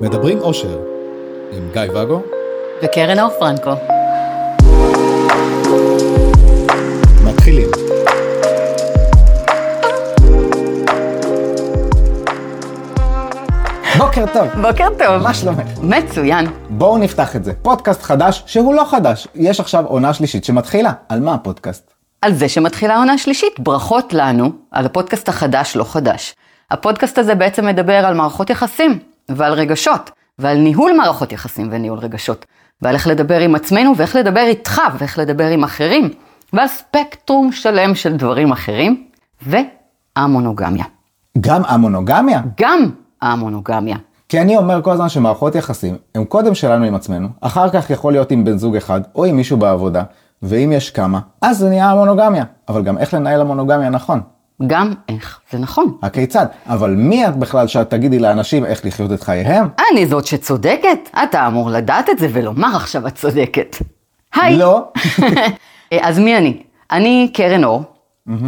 מדברים אושר, עם גיא ואגו, וקרן אור פרנקו. מתחילים. בוקר טוב, בוקר טוב. מה שלומך? מצוין. בואו נפתח את זה. פודקאסט חדש שהוא לא חדש. יש עכשיו עונה שלישית שמתחילה. על מה הפודקאסט? על זה שמתחילה העונה השלישית, ברכות לנו על הפודקאסט החדש, לא חדש. הפודקאסט הזה בעצם מדבר על מערכות יחסים, ועל רגשות, ועל ניהול מערכות יחסים וניהול רגשות, ועל איך לדבר עם עצמנו, ואיך לדבר איתך, ואיך לדבר עם אחרים, ועל ספקטרום שלם של דברים אחרים, והמונוגמיה. גם המונוגמיה. גם המונוגמיה. כי אני אומר כל הזמן שמערכות יחסים הם קודם שלנו עם עצמנו, אחר כך יכול להיות עם בן זוג אחד או עם מישהו בעבודה, ואם יש כמה, אז זה נהיה המונוגמיה. אבל גם איך לנהל המונוגמיה נכון. גם איך זה נכון. הכיצד? אבל מי את בכלל שאת תגידי לאנשים איך לחיות את חייהם? אני זאת שצודקת, אתה אמור לדעת את זה ולומר עכשיו את צודקת. היי. לא. אז מי אני? אני קרן אור,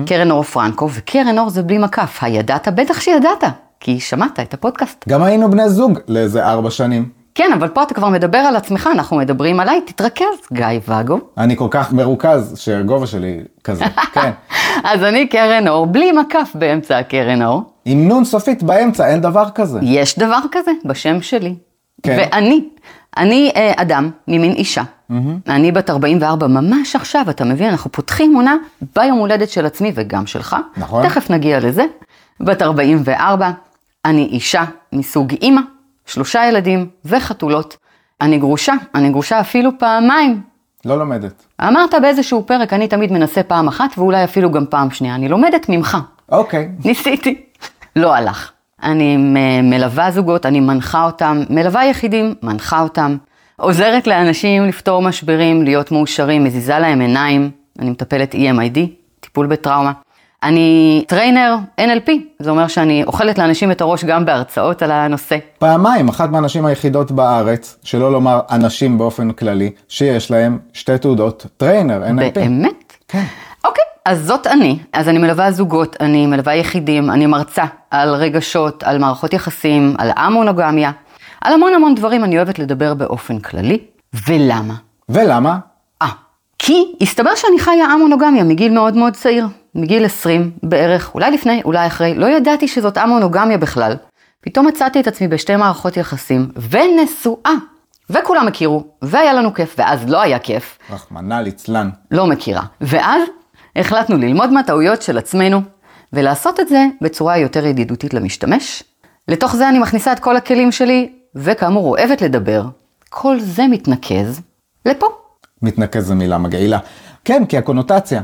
קרן אור פרנקו, וקרן אור זה בלי מקף. הידעת? בטח שידעת, כי שמעת את הפודקאסט. גם היינו בני זוג לאיזה ארבע שנים. כן, אבל פה אתה כבר מדבר על עצמך, אנחנו מדברים עליי, תתרכז, גיא ואגו. אני כל כך מרוכז שהגובה שלי כזה, כן. אז אני קרן אור, בלי מקף באמצע הקרן אור. עם נון סופית באמצע, אין דבר כזה. יש דבר כזה בשם שלי. כן. ואני, אני אה, אדם ממין אישה. אני בת 44 ממש עכשיו, אתה מבין? אנחנו פותחים עונה ביום הולדת של עצמי וגם שלך. נכון. תכף נגיע לזה. בת 44, אני אישה מסוג אימא, שלושה ילדים וחתולות. אני גרושה, אני גרושה אפילו פעמיים. לא לומדת. אמרת באיזשהו פרק, אני תמיד מנסה פעם אחת ואולי אפילו גם פעם שנייה. אני לומדת ממך, אוקיי. ניסיתי, לא הלך. אני מ- מלווה זוגות, אני מנחה אותם, מלווה יחידים, מנחה אותם, עוזרת לאנשים לפתור משברים, להיות מאושרים, מזיזה להם עיניים, אני מטפלת E EMID, טיפול בטראומה. אני טריינר NLP, זה אומר שאני אוכלת לאנשים את הראש גם בהרצאות על הנושא. פעמיים, אחת מהנשים היחידות בארץ, שלא לומר אנשים באופן כללי, שיש להם שתי תעודות טריינר, NLP. באמת? כן. אוקיי, אז זאת אני. אז אני מלווה זוגות, אני מלווה יחידים, אני מרצה על רגשות, על מערכות יחסים, על המונוגמיה, על המון המון דברים אני אוהבת לדבר באופן כללי. ולמה? ולמה? אה, כי הסתבר שאני חיה המונוגמיה מגיל מאוד מאוד צעיר, מגיל 20 בערך, אולי לפני, אולי אחרי, לא ידעתי שזאת המונוגמיה בכלל. פתאום מצאתי את עצמי בשתי מערכות יחסים, ונשואה. וכולם הכירו, והיה לנו כיף, ואז לא היה כיף, רחמנא ליצלן. לא מכירה. ואז החלטנו ללמוד מהטעויות של עצמנו, ולעשות את זה בצורה יותר ידידותית למשתמש. לתוך זה אני מכניסה את כל הכלים שלי, וכאמור אוהבת לדבר. כל זה מתנקז לפה. מתנקז זו מילה מגעילה. כן, כי הקונוטציה.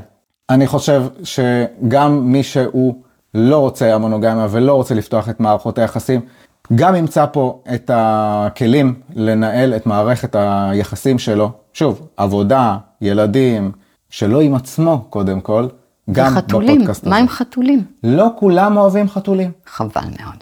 אני חושב שגם מי שהוא לא רוצה המונוגמיה ולא רוצה לפתוח את מערכות היחסים, גם ימצא פה את הכלים לנהל את מערכת היחסים שלו. שוב, עבודה, ילדים, שלא עם עצמו קודם כל, גם וחתולים, בפודקאסט הזה. מה עם חתולים? לא כולם אוהבים חתולים. חבל מאוד.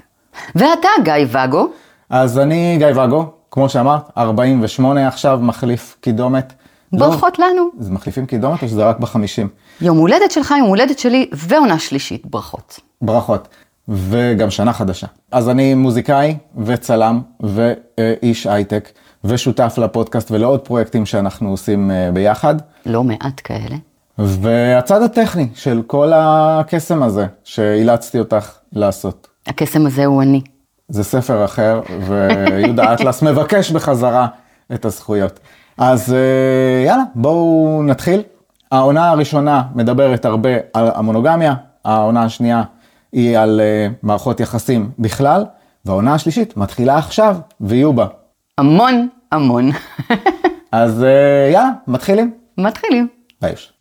ואתה, גיא ואגו, לא. אז אני גיא ואגו, כמו שאמרת, 48 עכשיו, מחליף קידומת. לא- ברכות לנו. אז מחליפים קידומת או שזה רק בחמישים? יום הולדת שלך, יום הולדת שלי, ועונה שלישית, ברכות. ברכות. וגם שנה חדשה. אז אני מוזיקאי וצלם ואיש הייטק ושותף לפודקאסט ולעוד פרויקטים שאנחנו עושים אה, ביחד. לא מעט כאלה. והצד הטכני של כל הקסם הזה שאילצתי אותך לעשות. הקסם הזה הוא אני. זה ספר אחר, ויהודה אטלס מבקש בחזרה את הזכויות. אז אה, יאללה, בואו נתחיל. העונה הראשונה מדברת הרבה על המונוגמיה, העונה השנייה היא על אה, מערכות יחסים בכלל, והעונה השלישית מתחילה עכשיו, ויהיו בה. המון, המון. אז אה, יאללה, מתחילים. מתחילים. ביוש.